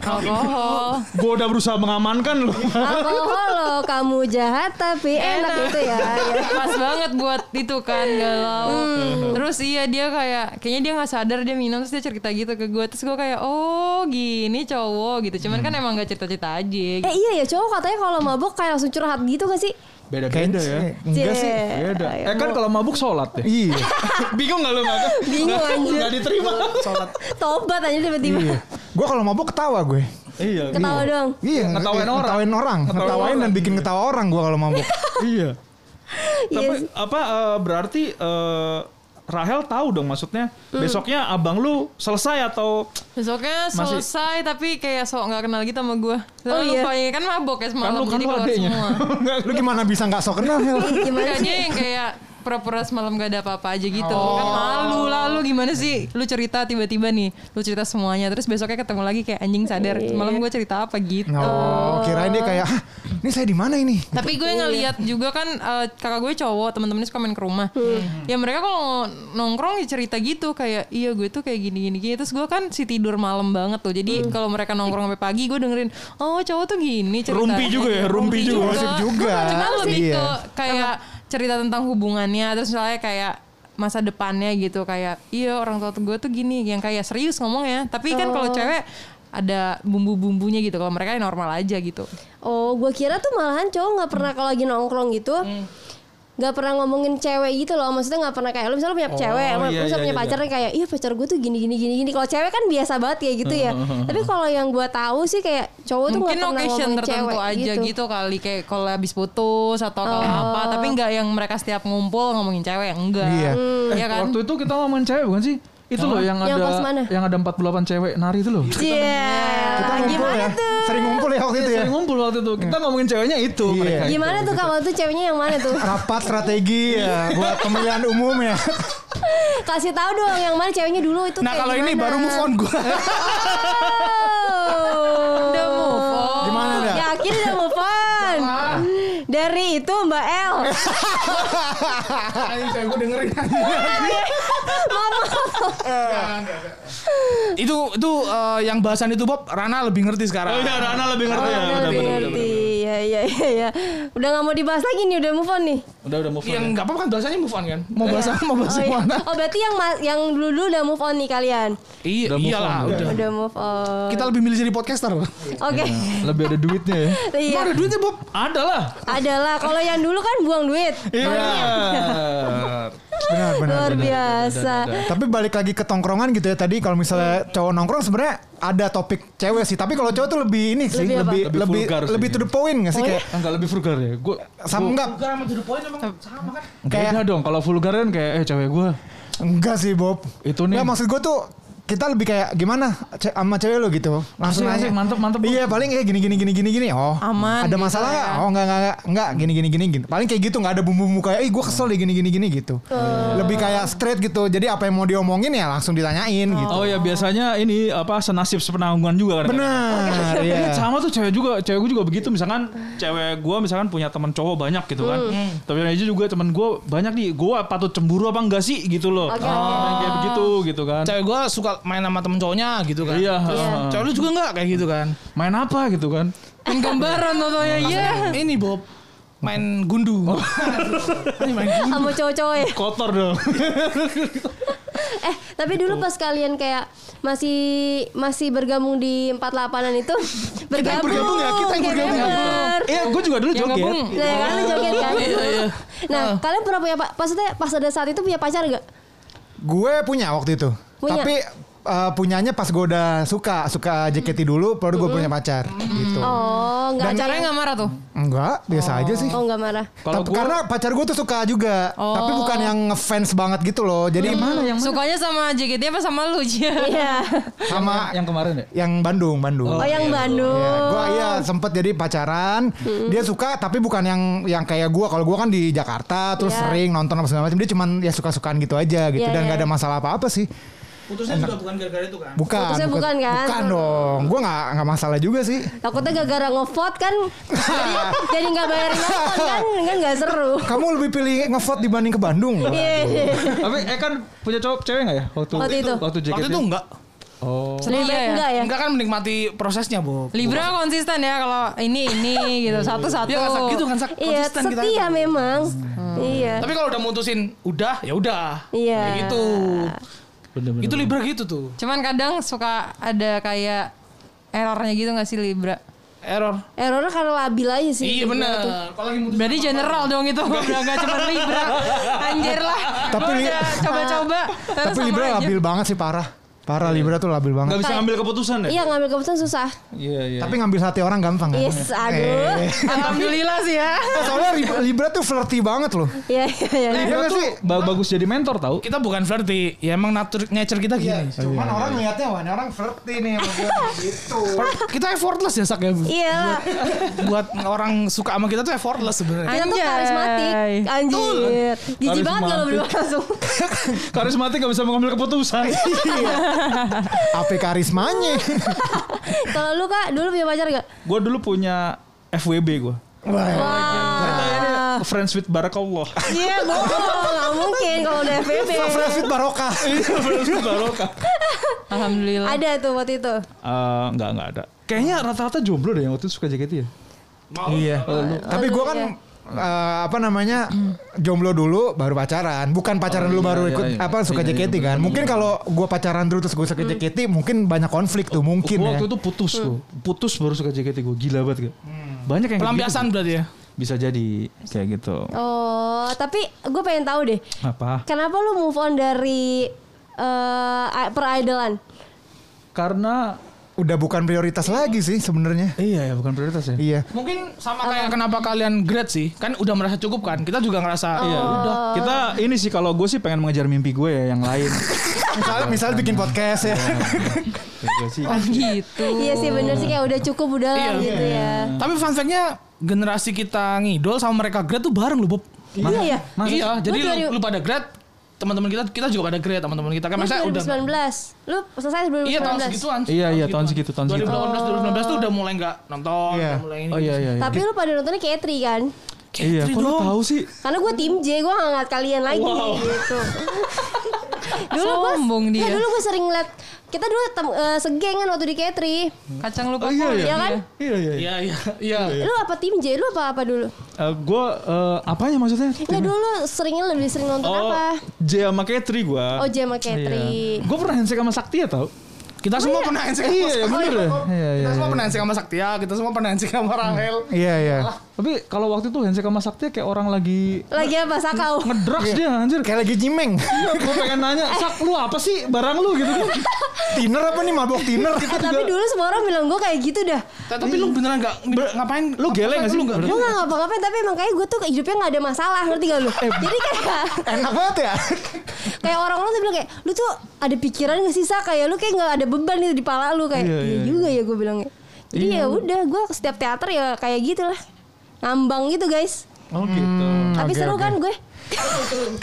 Speaker 2: alkohol
Speaker 4: Gue udah berusaha mengamankan loh.
Speaker 1: Alkohol lo kamu jahat tapi enak gitu ya. Iya.
Speaker 2: pas banget buat itu kan galau terus iya dia kayak kayaknya dia nggak sadar dia minum terus dia cerita gitu ke gue terus gue kayak oh gini cowok gitu cuman kan emang gak cerita cerita aja gitu.
Speaker 1: Eh iya ya cowok katanya kalau mabuk kayak langsung curhat gitu gak sih?
Speaker 4: Beda-beda ya.
Speaker 3: Enggak sih.
Speaker 1: Cie.
Speaker 4: Beda. Eh kan kalau mabuk sholat ya.
Speaker 3: Iya.
Speaker 4: Bingung gak lu Mak?
Speaker 1: Bingung anjir.
Speaker 4: Gak diterima.
Speaker 1: Tobat aja tiba-tiba.
Speaker 3: Iya. Gua kalau mabuk ketawa gue.
Speaker 4: Iya.
Speaker 1: Ketawa dong.
Speaker 3: Iya,
Speaker 4: Ngetawain orang.
Speaker 3: Ngetawain orang,
Speaker 4: Ngetawain
Speaker 3: ngetawain dan
Speaker 4: orang.
Speaker 3: bikin ketawa orang gua kalau mabuk.
Speaker 4: Iya.
Speaker 1: Iya
Speaker 4: Tapi
Speaker 1: sih.
Speaker 4: apa eh, berarti eh, Rahel tahu dong maksudnya
Speaker 1: Hmm.
Speaker 4: besoknya abang lu selesai atau
Speaker 2: besoknya
Speaker 4: Masih-
Speaker 2: selesai tapi kayak sok nggak kenal gitu sama gue
Speaker 1: Oh, iya.
Speaker 2: lupa ya kan mabok ya
Speaker 4: kan
Speaker 2: semalam
Speaker 4: lu kan
Speaker 2: jadi
Speaker 4: lu
Speaker 2: keluar
Speaker 4: adeknya.
Speaker 2: semua
Speaker 4: Enggak,
Speaker 3: Lu gimana bisa nggak sok kenal? Hel?
Speaker 1: Gimana
Speaker 2: Enggak,
Speaker 1: sih?
Speaker 2: dia yang kayak pura-pura semalam gak ada apa-apa aja gitu kan malu lah lu gimana sih lu cerita tiba-tiba nih lu cerita semuanya terus besoknya ketemu lagi kayak anjing sadar semalam gue cerita apa gitu
Speaker 3: Oh, kirain dia kayak, "Hah, ini saya di mana ini?"
Speaker 2: Tapi gue ngeliat juga kan eh, kakak gue cowok teman-temannya suka main ke rumah.
Speaker 3: Hmm.
Speaker 2: Ya mereka kalau nongkrong ya cerita gitu kayak iya gue tuh kayak gini gini gini. Terus gue kan si tidur malam banget tuh.
Speaker 3: Hmm.
Speaker 2: Jadi kalau mereka nongkrong sampai pagi gue dengerin oh cowok tuh gini cerita. Nah,
Speaker 4: Rumpi juga ya, rumpi juga.
Speaker 3: Gosip juga.
Speaker 2: Cuma lebih
Speaker 3: Iya.
Speaker 2: ke kayak cerita tentang hubungannya terus misalnya kayak masa depannya gitu kayak iya orang tua tuh gue tuh gini yang kayak serius ngomongnya. Tapi kan
Speaker 3: Oh.
Speaker 2: kalau cewek ada bumbu-bumbunya gitu. Kalau mereka ya normal aja gitu.
Speaker 1: Oh, gue kira tuh malahan cowok nggak pernah kalau lagi nongkrong gitu. nggak pernah ngomongin cewek gitu loh Maksudnya nggak pernah kayak Lu misalnya punya cewek
Speaker 4: iya,
Speaker 1: Misalnya
Speaker 4: iya,
Speaker 1: punya
Speaker 4: iya.
Speaker 1: pacar yang kayak Iya pacar gue tuh gini gini gini gini Kalau cewek kan biasa banget kayak gitu ya Tapi kalau yang gue tahu sih kayak Cowok tuh nggak
Speaker 2: mungkin
Speaker 1: pernah
Speaker 2: occasion
Speaker 1: ngomongin
Speaker 2: tertentu
Speaker 1: cewek
Speaker 2: aja
Speaker 1: gitu,
Speaker 2: gitu. Oh. kali kayak kalau habis putus atau kalau apa tapi nggak yang mereka setiap ngumpul ngomongin cewek enggak
Speaker 3: Iya.
Speaker 2: ya kan
Speaker 4: Waktu itu kita ngomongin cewek bukan sih? Itu loh yang,
Speaker 1: Yang
Speaker 4: ada
Speaker 1: pas mana?
Speaker 4: yang ada 48 cewek nari itu loh.
Speaker 1: Iya
Speaker 3: Kita ngumpul ya. Sering ngumpul ya waktu itu ya.
Speaker 4: Iya, Sering ngumpul waktu itu. Kita ngomongin ceweknya itu.
Speaker 3: Iya.
Speaker 4: mereka itu.
Speaker 1: Gimana tuh kalau tuh ceweknya yang mana tuh
Speaker 3: Rapat strategi ya buat pemilihan umum ya.
Speaker 1: Kasih tahu dong yang mana ceweknya dulu itu
Speaker 6: Nah
Speaker 1: kayak
Speaker 6: kalau ini
Speaker 1: gimana.
Speaker 6: baru move on gue.
Speaker 1: Oh.
Speaker 2: Udah move on.
Speaker 3: Gimana, Dak?
Speaker 1: Yakin udah move on? Dari itu Mbak El.
Speaker 6: Ayo gue dengerin. itu itu eh, yang bahasan itu Bob Rana lebih ngerti
Speaker 4: Oh
Speaker 6: sekarang.
Speaker 4: iya, Rana lebih
Speaker 1: Oh,
Speaker 4: ngerti ya.
Speaker 1: udah
Speaker 4: Udah,
Speaker 1: lebih
Speaker 4: udah,
Speaker 1: ngerti. Iya, iya, iya, iya. Udah nggak mau dibahas lagi nih, udah move on nih.
Speaker 4: udah, udah move on. ya.
Speaker 6: Yang nggak apa-apa kan bahasanya move on kan. Mau bahas apa, mau bahas
Speaker 1: Oh, iya.
Speaker 6: yang mana?
Speaker 1: oh berarti yang ma- yang dulu udah move on nih kalian.
Speaker 6: Iya,
Speaker 4: Udah move
Speaker 6: iyalah
Speaker 4: on, ya.
Speaker 6: udah.
Speaker 1: Udah move on.
Speaker 3: Gitu.
Speaker 6: Kita lebih milih jadi podcaster.
Speaker 1: Iya. Oke.
Speaker 4: Lebih ada duitnya ya.
Speaker 1: Iya.
Speaker 6: Ada duitnya Bob.
Speaker 4: Ada lah.
Speaker 1: Adalah kalau yang dulu kan buang duit.
Speaker 4: Iya.
Speaker 3: Benar benar.
Speaker 1: Luar biasa.
Speaker 3: Tapi balik lagi ke tongkrongan gitu ya tadi kalau
Speaker 1: Iya.
Speaker 3: misalnya cowok nongkrong sebenarnya ada topik cewek sih, tapi kalau cowok tuh lebih ini sih,
Speaker 1: Lebih apa? Oh,
Speaker 3: lebih
Speaker 4: Lebih
Speaker 3: lebih
Speaker 4: vulgar
Speaker 3: lebih,
Speaker 4: sih.
Speaker 3: to the point nggak sih kayak
Speaker 4: Enggak lebih vulgar ya. Gue
Speaker 1: iya?
Speaker 3: sama enggak?
Speaker 4: Beda dong kalau vulgar kan kayak eh cewek gue
Speaker 3: Enggak sih Bob.
Speaker 4: Itu nih.
Speaker 3: Nggak, maksud gue tuh kita lebih kayak gimana ce- sama cewek lu gitu langsung aja
Speaker 4: Asik, asik, mantep, mantep, Bu.
Speaker 3: iya paling kayak gini gini gini gini gini oh
Speaker 2: Aman gitu
Speaker 3: ada masalah
Speaker 2: ya.
Speaker 3: nggak oh nggak nggak nggak nggak gini gini gini gini paling kayak gitu nggak ada bumbu bumbu kayak ih gue kesel deh gini gini gini gitu lebih kayak straight gitu jadi apa yang mau diomongin ya langsung ditanyain gitu
Speaker 4: Oh ya biasanya ini apa senasib sepenanggungan juga kan.
Speaker 3: benar iya
Speaker 4: Iya, sama tuh cewek juga cewek gue juga begitu misalkan cewek gue misalkan punya teman cowok banyak gitu
Speaker 1: Hmm.
Speaker 4: kan tapi aja juga teman gue banyak nih gue patut cemburu apa enggak sih gitu loh
Speaker 1: Oke, oke.
Speaker 4: Nah, kayak begitu gitu kan
Speaker 6: Cewek gue suka main sama temen cowoknya gitu kan.
Speaker 4: iya
Speaker 1: Iya.
Speaker 4: heeh.
Speaker 6: Cewek lu juga nggak kayak gitu kan?
Speaker 4: main apa gitu kan
Speaker 2: Main gambaran contohnya
Speaker 3: gitu.
Speaker 1: Iya.
Speaker 2: ya.
Speaker 6: Ini Bob main gundu.
Speaker 4: Oh.
Speaker 6: Ini main gundu.
Speaker 1: sama cowok-cowok ya.
Speaker 4: kotor dong
Speaker 1: Eh, tapi dulu pas kalian kayak masih masih bergabung di 48-an itu bergabung.
Speaker 6: bergabung ya, Iya. kita yang
Speaker 1: kayak
Speaker 6: bergabung.
Speaker 1: member.
Speaker 4: iya gue juga dulu
Speaker 2: Yang
Speaker 4: joget
Speaker 2: gabung.
Speaker 1: Nah, kan lu joget kan?
Speaker 6: iya.
Speaker 1: Nah,
Speaker 6: Ah.
Speaker 1: kalian pernah punya pa- maksudnya pas ada saat itu punya pacar gak?
Speaker 3: gue punya waktu itu
Speaker 1: Punya.
Speaker 3: tapi eh, punyanya pas gue udah suka suka JKT dulu baru gue punya pacar gitu
Speaker 6: Hmm.
Speaker 1: Oh, enggak ada.
Speaker 2: Pacarnya nggak marah tuh.
Speaker 3: enggak biasa aja sih
Speaker 1: Oh, enggak marah.
Speaker 3: Tapi-
Speaker 4: Kalau gua-
Speaker 3: karena pacar gue tuh suka juga,
Speaker 1: Oh.
Speaker 3: tapi bukan yang ngefans banget gitu loh. Jadi
Speaker 1: Hmm.
Speaker 2: Sukanya sama JKT apa sama lu Ji?
Speaker 1: Iya.
Speaker 3: sama yang,
Speaker 4: yang kemarin ya
Speaker 3: Bandung, Bandung.
Speaker 1: Oh, yang Bandung.
Speaker 3: Ya, gua iya sempet jadi pacaran.
Speaker 1: Hmm.
Speaker 3: Dia suka tapi bukan yang yang kayak gua. Kalau gua kan di Jakarta terus
Speaker 1: Iya.
Speaker 3: sering nonton apa segala macam. Dia cuman ya suka-sukaan gitu aja gitu
Speaker 1: Iya,
Speaker 3: dan
Speaker 1: iya.
Speaker 3: nggak ada masalah apa-apa sih.
Speaker 6: Putusnya juga bukan gara-gara itu kan?
Speaker 3: Bukan.
Speaker 1: Putusnya bukan kan?
Speaker 3: Bukan dong. Gua nggak nggak masalah juga sih.
Speaker 1: Takutnya gara-gara ngevote kan jadi jadi nggak bayar nonton kan kan nggak seru.
Speaker 3: Kamu lebih pilih ngevote dibanding ke Bandung.
Speaker 1: Iya.
Speaker 4: tapi eh kan punya cowok cewek nggak ya waktu
Speaker 1: Waktu itu.
Speaker 4: waktu JKT
Speaker 6: Waktu itu enggak.
Speaker 4: oh
Speaker 1: Lebih
Speaker 2: Libra
Speaker 1: baik
Speaker 2: ya.
Speaker 1: enggak ya?
Speaker 6: Enggak kan menikmati prosesnya, Bob.
Speaker 2: Libra konsisten ya kalau ini ini gitu satu satu.
Speaker 6: Iya kan sak gitu kan sak
Speaker 1: Iya,
Speaker 6: konsisten kita. Hmm.
Speaker 1: setia memang. Iya.
Speaker 6: Tapi kalau udah mutusin udah ya udah.
Speaker 1: Iya.
Speaker 6: Kayak gitu.
Speaker 4: bener-bener
Speaker 6: Itu Libra gitu tuh.
Speaker 2: Cuman kadang suka ada kayak errornya gitu nggak sih Libra?
Speaker 6: Error.
Speaker 1: Errornya Eh, karena labil aja sih.
Speaker 6: Iya benar. Kalau lagi mutusin
Speaker 2: Berarti general dong itu Udah gak cuma Libra Anjir lah
Speaker 3: Tapi
Speaker 2: Gua
Speaker 3: li-
Speaker 2: udah coba-coba ternyata
Speaker 3: Tapi
Speaker 2: sama
Speaker 3: Libra
Speaker 2: aja.
Speaker 3: labil banget sih parah. Parah
Speaker 6: Iya.
Speaker 3: Libra tuh labil banget.
Speaker 4: nggak bisa ngambil keputusan ya
Speaker 1: Iya, ngambil keputusan susah.
Speaker 4: iya iya
Speaker 3: Tapi ngambil hati orang gampang kan?
Speaker 1: Yes, aduh.
Speaker 3: Eh.
Speaker 2: Alhamdulillah sih ya
Speaker 3: Eh, Soalnya Libra, Libra tuh flirty banget loh.
Speaker 1: Iya, iya, iya.
Speaker 3: Iya nggak sih?
Speaker 4: Ba- bagus jadi mentor tau
Speaker 6: kita bukan flirty, ya emang nature nature kita gini.
Speaker 3: ya,
Speaker 4: Iya,
Speaker 3: Cuman orang ngeliatnya wah ini orang flirty nih sama gue gitu.
Speaker 6: Kita effortless ya sak ya. Bu.
Speaker 1: Iya.
Speaker 6: Buat orang suka sama kita tuh effortless sebenarnya.
Speaker 1: Kita tuh
Speaker 2: Anjay.
Speaker 1: karismatik. Anjir. Jijik banget kalau berdua langsung.
Speaker 4: karismatik nggak bisa mengambil keputusan
Speaker 3: Apa Iya. karismanya?
Speaker 1: Kalau lu Kak, dulu punya pacar gak?
Speaker 4: gue dulu punya FWB gue
Speaker 6: Eh,
Speaker 3: Wah.
Speaker 1: Wah.
Speaker 4: friends with barakallah
Speaker 1: Iya, bohong. Gak mungkin kalau udah FBB.
Speaker 3: Fresh with barokah.
Speaker 4: Iya, friends with barokah
Speaker 2: Alhamdulillah
Speaker 1: Ada tuh waktu itu.
Speaker 4: Eh, nggak nggak ada kayaknya rata-rata jomblo deh yang waktu itu suka JKT ya
Speaker 3: Iya. Tapi gue kan eh, apa namanya jomblo dulu baru pacaran bukan pacaran dulu baru
Speaker 4: iya,
Speaker 3: ikut
Speaker 4: iya.
Speaker 3: apa suka
Speaker 4: Iya, iya,
Speaker 3: JKT kan mungkin kalau gue pacaran dulu terus gue suka JKT mungkin banyak konflik tuh mungkin
Speaker 4: Gua
Speaker 3: ya
Speaker 4: Hmm. Hmm. waktu itu putus gue Hmm. putus baru suka JKT gue gila banget gak banyak yang kayak
Speaker 6: Pelampiasan
Speaker 4: gitu.
Speaker 6: berarti ya.
Speaker 4: bisa jadi kayak gitu
Speaker 1: Oh, tapi gue pengen tahu deh.
Speaker 4: apa
Speaker 1: Kenapa lu move on dari eh peridolan?
Speaker 4: karena
Speaker 3: udah bukan prioritas lagi sih sebenarnya
Speaker 4: iya ya bukan prioritas ya
Speaker 3: iya
Speaker 6: Mungkin sama kayak kenapa kalian grad sih? Kan udah merasa cukup kan? Kita juga ngerasa
Speaker 4: Iya, udah. Kita ini sih kalau gue sih pengen mengejar mimpi gue ya yang lain.
Speaker 3: misalnya misalnya bikin podcast ya
Speaker 4: Iya. gue sih.
Speaker 2: Gitu
Speaker 1: Iya sih bener sih kayak udah cukup udah lah
Speaker 6: Iya.
Speaker 1: gitu ya.
Speaker 6: Tapi fun fact-nya generasi kita ngidol sama mereka grad tuh bareng loh Bob.
Speaker 1: Iya ya.
Speaker 6: iya, jadi
Speaker 1: Gua dari-
Speaker 6: lu, lu pada grad, teman-teman kita kita juga pada grad, teman-teman kita
Speaker 1: Lu
Speaker 6: kan masa udah
Speaker 1: 2019. Lu selesai 2019.
Speaker 6: Iya tahun segituan. sih,
Speaker 4: Iya,
Speaker 6: tahun
Speaker 4: iya, tahun segitu, tahun segitu.
Speaker 6: 2018 2019 tuh udah mulai nggak nonton,
Speaker 3: Iya.
Speaker 6: udah mulai ini.
Speaker 4: Oh iya iya. iya.
Speaker 1: Tapi lu pada nontonnya kayak Tri kan?
Speaker 4: Iya, kok lu tahu sih?
Speaker 1: Karena gue tim J, gue gak ngeliat kalian lagi gitu. dulu gue,
Speaker 2: Sombong dia.
Speaker 6: Iya.
Speaker 1: Ya, dulu gue sering ngeliat, kita dulu tem, eh, segeng kan waktu di Katri.
Speaker 2: Kacang lupa
Speaker 4: iya,
Speaker 2: kol,
Speaker 4: iya.
Speaker 1: Ya kan?
Speaker 4: Iya iya.
Speaker 6: Iya iya Oh, iya.
Speaker 1: Lu apa tim J? Lu apa apa dulu?
Speaker 4: Eh, gue eh, apanya maksudnya?
Speaker 1: Enggak dulu lu seringnya lebih sering nonton
Speaker 4: Oh,
Speaker 6: Oh.
Speaker 1: apa?
Speaker 4: J sama Katri gue.
Speaker 1: Oh J sama
Speaker 6: Iya.
Speaker 1: Katri.
Speaker 4: Gue pernah handshake sama Sakti ya tau?
Speaker 6: Kita semua pernah handshake sama
Speaker 4: Iya, bener ya. Iya,
Speaker 6: Kita
Speaker 4: iya. Hmm.
Speaker 6: semua pernah handshake sama Saktia, kita semua pernah handshake sama Rahel.
Speaker 3: iya iya
Speaker 4: Tapi kalau waktu itu Hensek sama Sakti ya, kayak orang lagi
Speaker 1: Lagi apa sakau?
Speaker 4: ngedrugs dia anjir.
Speaker 3: Kayak lagi nyimeng.
Speaker 4: Gue pengen nanya, Sak lu apa sih barang lu gitu kan.
Speaker 3: tiner apa nih mabok tiner?
Speaker 1: Eh, tapi dulu semua orang bilang gue kayak gitu dah.
Speaker 6: Tapi
Speaker 4: Iya.
Speaker 6: lu beneran gak ngapain?
Speaker 4: Lu geleng gak sih?
Speaker 1: Gue gak ngapa-ngapain tapi emang kayak gue tuh kayak hidupnya gak ada masalah ngerti gak lu?
Speaker 6: Eh,
Speaker 1: Jadi kayak
Speaker 3: Enak banget ya.
Speaker 1: kayak orang lu tuh bilang kayak lu tuh ada pikiran gak sih Sa? Kayak lu kayak gak ada beban itu di pala lu kayak iya,
Speaker 4: Iya, iya, iya.
Speaker 1: juga ya gue bilang. Jadi ya udah gue setiap teater ya kayak gitulah ngambang gitu guys.
Speaker 4: Oh gitu.
Speaker 1: Tapi
Speaker 3: oke,
Speaker 1: seru
Speaker 3: oke.
Speaker 1: kan gue.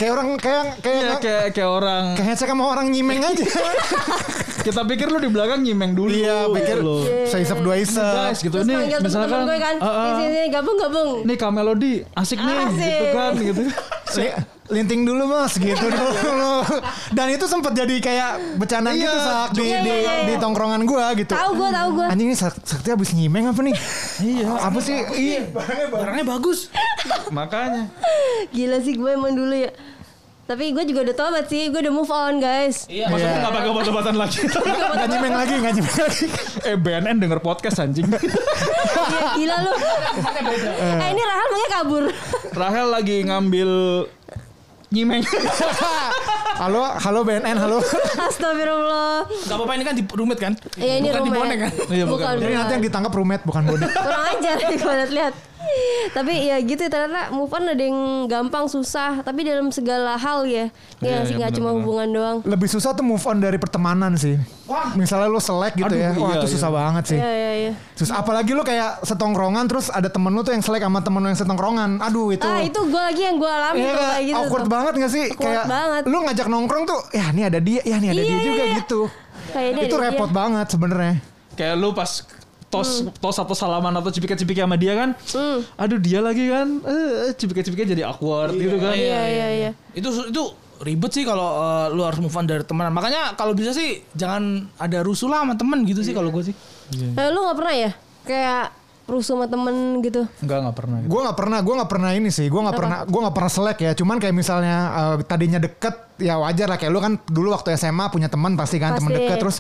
Speaker 3: kayak orang kayak kayak
Speaker 4: Iya
Speaker 3: kayak,
Speaker 4: kayak kayak orang
Speaker 3: headset sama orang nyimeng aja.
Speaker 4: kita pikir lu di belakang nyimeng dulu.
Speaker 3: Iya, pikir
Speaker 4: lu.
Speaker 3: seisep dua isep.
Speaker 4: Guys gitu
Speaker 1: Terus
Speaker 4: nih
Speaker 1: panggil temen-temen
Speaker 4: misalkan
Speaker 1: gue kan.
Speaker 4: "Ah, ah,
Speaker 1: Sini, sini, gabung gabung.
Speaker 4: nih Kamelodi asik nih
Speaker 1: Asik.
Speaker 4: gitu kan gitu.
Speaker 3: Li- Linting dulu mas gitu dulu. Dan itu sempat jadi kayak bercandaan gitu sak di,
Speaker 1: Iya,
Speaker 3: di,
Speaker 1: iya, iya.
Speaker 3: di tongkrongan gua gitu.
Speaker 1: Tahu gue tahu gue.
Speaker 3: Anjing ini Sak- sakti abis nyimeng apa nih? iya. Apa sih? Iya.
Speaker 6: Barangnya bagus.
Speaker 4: Makanya
Speaker 1: Gila sih gue emang dulu ya. Tapi gue juga udah tobat sih, gue udah move on guys.
Speaker 3: Iya.
Speaker 4: maksudnya nggak pakai obat-obatan lagi.
Speaker 3: Gak nyimeng lagi, gak nyimeng lagi.
Speaker 4: eh BNN denger podcast anjing.
Speaker 1: Iya gila lu. eh ini Rahel makanya kabur.
Speaker 4: Rahel lagi ngambil nyimeng.
Speaker 3: Halo, halo BNN, halo.
Speaker 1: Astagfirullah.
Speaker 6: Gak apa-apa ini kan di rumit kan?
Speaker 1: Ya ini
Speaker 6: Bukan di
Speaker 1: rumah.
Speaker 6: bonek kan?
Speaker 4: Iya, bukan.
Speaker 1: bukan.
Speaker 3: Jadi nanti yang ditangkap rumet bukan bodoh.
Speaker 1: Kurang ajar kalau lihat. Tapi ya gitu ternyata move on ada yang gampang susah, tapi dalam segala hal ya. Ya
Speaker 4: Iya,
Speaker 1: sih
Speaker 4: iya,
Speaker 1: nggak cuma
Speaker 4: benar-benar.
Speaker 1: hubungan doang.
Speaker 3: Lebih susah tuh move on dari pertemanan sih. Misalnya lu selek gitu
Speaker 4: Aduh,
Speaker 3: ya. Wah,
Speaker 4: iya,
Speaker 3: itu susah
Speaker 4: iya.
Speaker 3: banget sih.
Speaker 1: Ya ya ya.
Speaker 3: Terus apalagi lu kayak setongkrongan terus ada temen lu tuh yang selek sama temen lu yang setongkrongan. Aduh, itu.
Speaker 1: Ah itu gue lagi yang gue alami
Speaker 3: Iya
Speaker 1: tuh
Speaker 3: nggak?
Speaker 1: kayak gitu.
Speaker 3: awkward
Speaker 1: tuh.
Speaker 3: banget gak sih?
Speaker 1: Awkward
Speaker 3: kayak
Speaker 1: banget.
Speaker 3: lu ngajak nongkrong tuh, ya ini ada dia, ya ini ada
Speaker 1: Iya,
Speaker 3: dia
Speaker 1: iya,
Speaker 3: juga
Speaker 1: iya.
Speaker 3: gitu.
Speaker 1: Kayaknya
Speaker 3: itu
Speaker 1: ada
Speaker 3: repot
Speaker 1: dia. iya.
Speaker 3: banget sebenarnya.
Speaker 4: kayak lu pas tos
Speaker 1: Hmm.
Speaker 4: tos atau salaman atau cipika-cipiki sama dia kan. Aduh dia lagi kan. Eh cipika-cipiki jadi awkward gitu kan.
Speaker 1: Iya iya iya.
Speaker 6: Itu itu ribet sih kalau eh, lu harus move on dari teman. Makanya kalau bisa sih jangan ada rusuh lah sama temen gitu
Speaker 4: Iya.
Speaker 6: sih kalau gue sih.
Speaker 1: Eh, lu nggak pernah ya? Kayak rusuh sama temen gitu.
Speaker 4: Enggak enggak pernah gitu.
Speaker 3: Gue nggak pernah, gue nggak pernah ini sih. Gue nggak pernah, gue nggak pernah selek ya. Cuman kayak misalnya eh, tadinya deket, ya wajar lah. Kayak lu kan dulu waktu SMA punya teman pasti kan teman
Speaker 1: Pasti.
Speaker 3: deket. Terus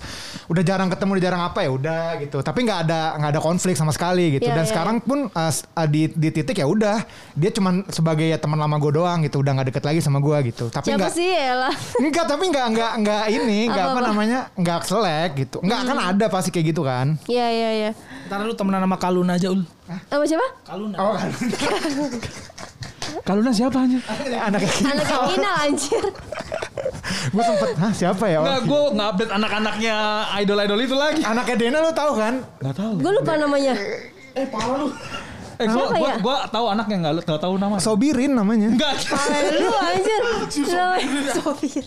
Speaker 3: udah jarang ketemu, udah jarang apa ya udah gitu. Tapi nggak ada nggak ada konflik sama sekali gitu.
Speaker 1: Iya,
Speaker 3: Dan
Speaker 1: iya,
Speaker 3: sekarang pun eh, s- eh, di di titik ya udah dia cuman sebagai ya teman lama gue doang gitu. Udah nggak deket lagi sama gue gitu. Tapi
Speaker 1: Siapa
Speaker 3: nggak
Speaker 1: sih ya lah?
Speaker 3: Enggak, tapi enggak enggak enggak ini, enggak apa,
Speaker 1: Apa-apa?
Speaker 3: namanya? Enggak selek gitu. Enggak kan
Speaker 1: Hmm.
Speaker 3: ada pasti kayak gitu kan.
Speaker 1: Iya iya iya.
Speaker 6: Ntar lu temenan sama Kalun aja ul.
Speaker 1: Sama siapa?
Speaker 6: Kalun.
Speaker 3: Oh kan.
Speaker 4: Kaluna siapa anjir?
Speaker 3: Anak kayak
Speaker 1: Anak yang Inal anjir.
Speaker 3: gue sempet, hah siapa ya?
Speaker 4: Enggak,
Speaker 3: orang
Speaker 4: gue nggak update anak-anaknya idol-idol itu lagi.
Speaker 3: Anaknya Dena lu tahu kan?
Speaker 4: Nggak tahu.
Speaker 1: Gue lupa namanya.
Speaker 4: Eh, gue
Speaker 1: Kenapa
Speaker 4: gua,
Speaker 1: ya?
Speaker 4: gua tahu anaknya nggak lu- nggak tahu nama.
Speaker 3: Sobirin namanya.
Speaker 4: Enggak.
Speaker 1: Lu anjir. Namanya Sopir.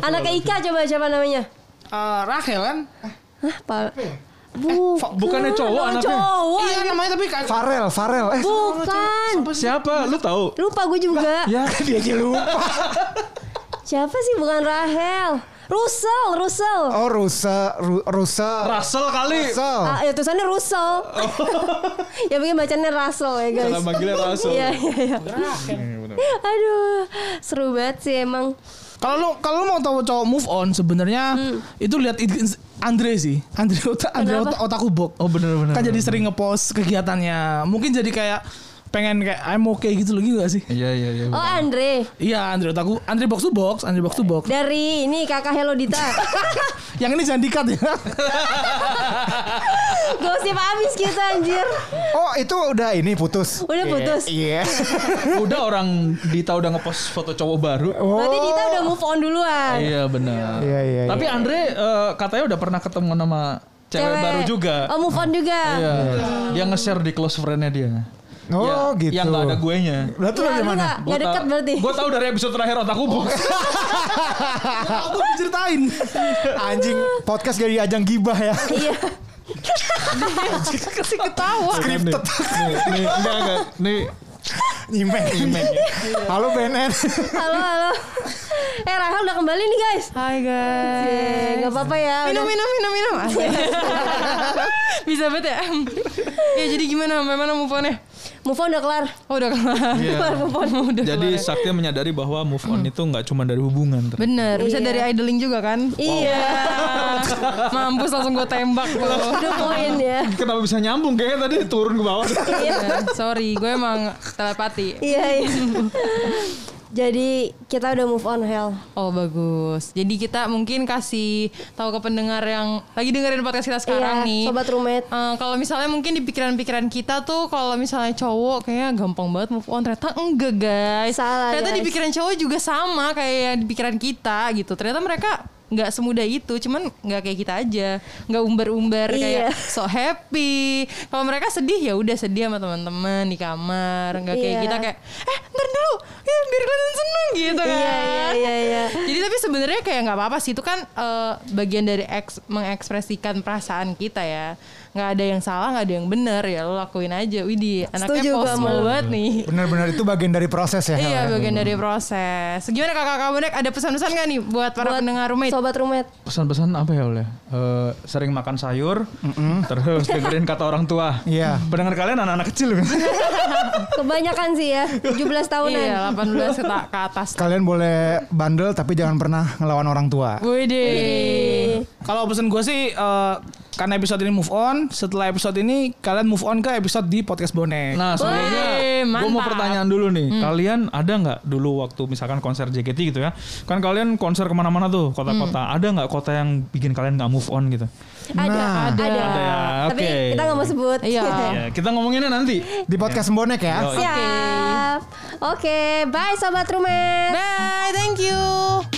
Speaker 1: Anaknya Ika coba siapa namanya?
Speaker 6: Eh, Rahel kan?
Speaker 1: Hah, Pak. Bukan.
Speaker 4: ya? Eh, bukannya cowok
Speaker 1: Nama
Speaker 4: anaknya.
Speaker 1: Cowok.
Speaker 6: Iya namanya tapi kan.
Speaker 3: Farel, Farel. Eh,
Speaker 1: Bukan.
Speaker 4: Siapa? Lu tahu?
Speaker 1: Lupa gue juga.
Speaker 4: Ya,
Speaker 3: dia aja lupa.
Speaker 1: Siapa sih bukan Rahel? Russell, Russell.
Speaker 3: Oh, Rusa, Ru, Rusa.
Speaker 4: Russell kali.
Speaker 3: Russell.
Speaker 1: Ah, ya tulisannya Russell.
Speaker 4: Oh.
Speaker 1: ya mungkin bacanya Russell ya guys.
Speaker 4: Cara manggilnya Russell.
Speaker 1: Iya iya iya. Aduh, seru banget sih emang.
Speaker 6: Kalau lu kalau lu mau tahu cowok move on sebenarnya itu lihat ig- Andre sih. Andre otak Andre
Speaker 1: Kenapa?
Speaker 6: otak, otakku bok.
Speaker 4: Oh bener-bener.
Speaker 6: kan jadi sering ngepost kegiatannya. Mungkin jadi kayak pengen kayak I'm okay gitu loh gitu gak sih?
Speaker 4: Iya iya iya.
Speaker 1: Oh Andre,
Speaker 6: Iya Andre otakku Andre box to box, Andre box to box.
Speaker 1: dari ini kakak Hello Dita.
Speaker 6: Yang ini jangan dikat ya.
Speaker 1: Gosip habis kita anjir.
Speaker 3: Oh, itu udah ini putus.
Speaker 1: Udah putus.
Speaker 3: Iya.
Speaker 4: Udah orang Dita udah ngepost foto cowok baru.
Speaker 1: Berarti Dita udah move on duluan.
Speaker 4: Iya benar.
Speaker 3: Oh, Iya, iya,
Speaker 4: Tapi Andre eh, katanya udah pernah ketemu nama cewek, baru juga.
Speaker 1: Oh move on juga.
Speaker 4: Iya. Dia nge-share di close friend-nya dia.
Speaker 3: Oh,
Speaker 4: Ya,
Speaker 3: gitu.
Speaker 4: Yang gak ada guenya.
Speaker 3: Lah
Speaker 1: Iya,
Speaker 3: tuh dari mana?
Speaker 1: Gak, deket berarti.
Speaker 4: Gue tahu dari episode terakhir otakku box.
Speaker 6: Aku diceritain.
Speaker 3: Anjing, podcast jadi ajang gibah ya.
Speaker 1: Iya.
Speaker 6: Kasih ketawa.
Speaker 4: Scripted. Nih, nih, enggak, enggak. Nih,
Speaker 3: Nyimeng. Halo BNN.
Speaker 1: Halo halo. Eh Rahel udah kembali nih guys.
Speaker 2: Hai guys.
Speaker 1: Gak apa-apa ya. udah.
Speaker 2: Minum, minum, minum, minum. Asik. Bisa banget ya. ya jadi gimana? Sampai mana move on-nya?
Speaker 1: Move on udah kelar.
Speaker 2: Oh udah kelar.
Speaker 4: Iya.
Speaker 2: Kelar move on. Udah
Speaker 4: Jadi
Speaker 2: kelar. ya.
Speaker 4: Sakti menyadari bahwa move on
Speaker 1: Hmm.
Speaker 4: itu nggak cuma dari hubungan. ter-
Speaker 2: Bener, bisa
Speaker 1: Iya.
Speaker 2: dari idling juga kan?
Speaker 1: Iya.
Speaker 2: Mampus langsung gue tembak loh.
Speaker 1: Udah poin ya.
Speaker 4: Kenapa bisa nyambung kayaknya tadi turun ke bawah.
Speaker 2: Ya, sorry, gue emang telepati.
Speaker 1: Iya. iya. Jadi kita udah move on Hel.
Speaker 2: Oh bagus. Jadi kita mungkin kasih tahu ke pendengar yang lagi dengerin podcast kita
Speaker 1: Iya,
Speaker 2: sekarang nih.
Speaker 1: sobat roommate.
Speaker 2: Eh, kalau misalnya mungkin di pikiran-pikiran kita tuh kalau misalnya cowok kayaknya gampang banget move on. Ternyata enggak guys.
Speaker 1: Salah,
Speaker 2: Ternyata di
Speaker 1: guys.
Speaker 2: pikiran cowok juga sama kayak yang di pikiran kita gitu. Ternyata mereka nggak semudah itu, cuman nggak kayak kita aja, nggak umbar-umbar
Speaker 1: Iya.
Speaker 2: kayak so happy. Kalau mereka sedih ya udah sedih sama teman-teman di kamar, nggak kayak
Speaker 1: Iya.
Speaker 2: kita kayak eh ntar dulu, ya biar kalian seneng gitu kan.
Speaker 1: Iya iya iya iya.
Speaker 2: Jadi tapi sebenarnya kayak nggak apa-apa sih itu kan eh, bagian dari eks- mengekspresikan perasaan kita ya. Nggak ada yang salah, nggak ada yang benar ya lo lakuin aja. Widih, anaknya
Speaker 1: Setuju,
Speaker 2: possible
Speaker 1: Gamal.
Speaker 2: banget nih.
Speaker 3: Benar-benar itu bagian dari proses ya. Hel,
Speaker 2: Iya
Speaker 3: ya?
Speaker 2: bagian dari proses. Gimana kakak kakak bonek ada pesan-pesan nggak nih buat para
Speaker 1: Buat
Speaker 2: pendengar roommate?
Speaker 1: Sobat roommate.
Speaker 4: Pesan-pesan apa ya oleh? Eh, sering makan sayur, terus dengerin kata orang tua.
Speaker 3: Iya.
Speaker 4: Pendengar kalian anak-anak kecil.
Speaker 1: Kebanyakan sih ya. 17 tahunan.
Speaker 2: Iya 18 ke, ta- ke atas.
Speaker 3: Kalian boleh bandel tapi jangan pernah ngelawan orang tua.
Speaker 2: Widih.
Speaker 6: Kalau pesan gue sih eh, karena episode ini move on, setelah episode ini kalian move on ke episode di podcast bonek.
Speaker 4: Nah, sebelumnya gue mau
Speaker 2: mantap.
Speaker 4: pertanyaan dulu nih. Kalian ada nggak dulu waktu misalkan konser JKT gitu ya? Kan kalian konser kemana-mana tuh, kota-kota. Ada nggak kota yang bikin kalian nggak move on gitu?
Speaker 1: Ada,
Speaker 3: Nah.
Speaker 1: ada.
Speaker 4: Ada ya,
Speaker 1: Tapi
Speaker 4: oke.
Speaker 1: kita nggak mau sebut.
Speaker 2: Iya.
Speaker 4: Ya, kita ngomonginnya nanti.
Speaker 3: Di podcast Bonek ya.
Speaker 4: Yo,
Speaker 1: Siap. Oke, bye sobat roommate.
Speaker 2: Bye, thank you.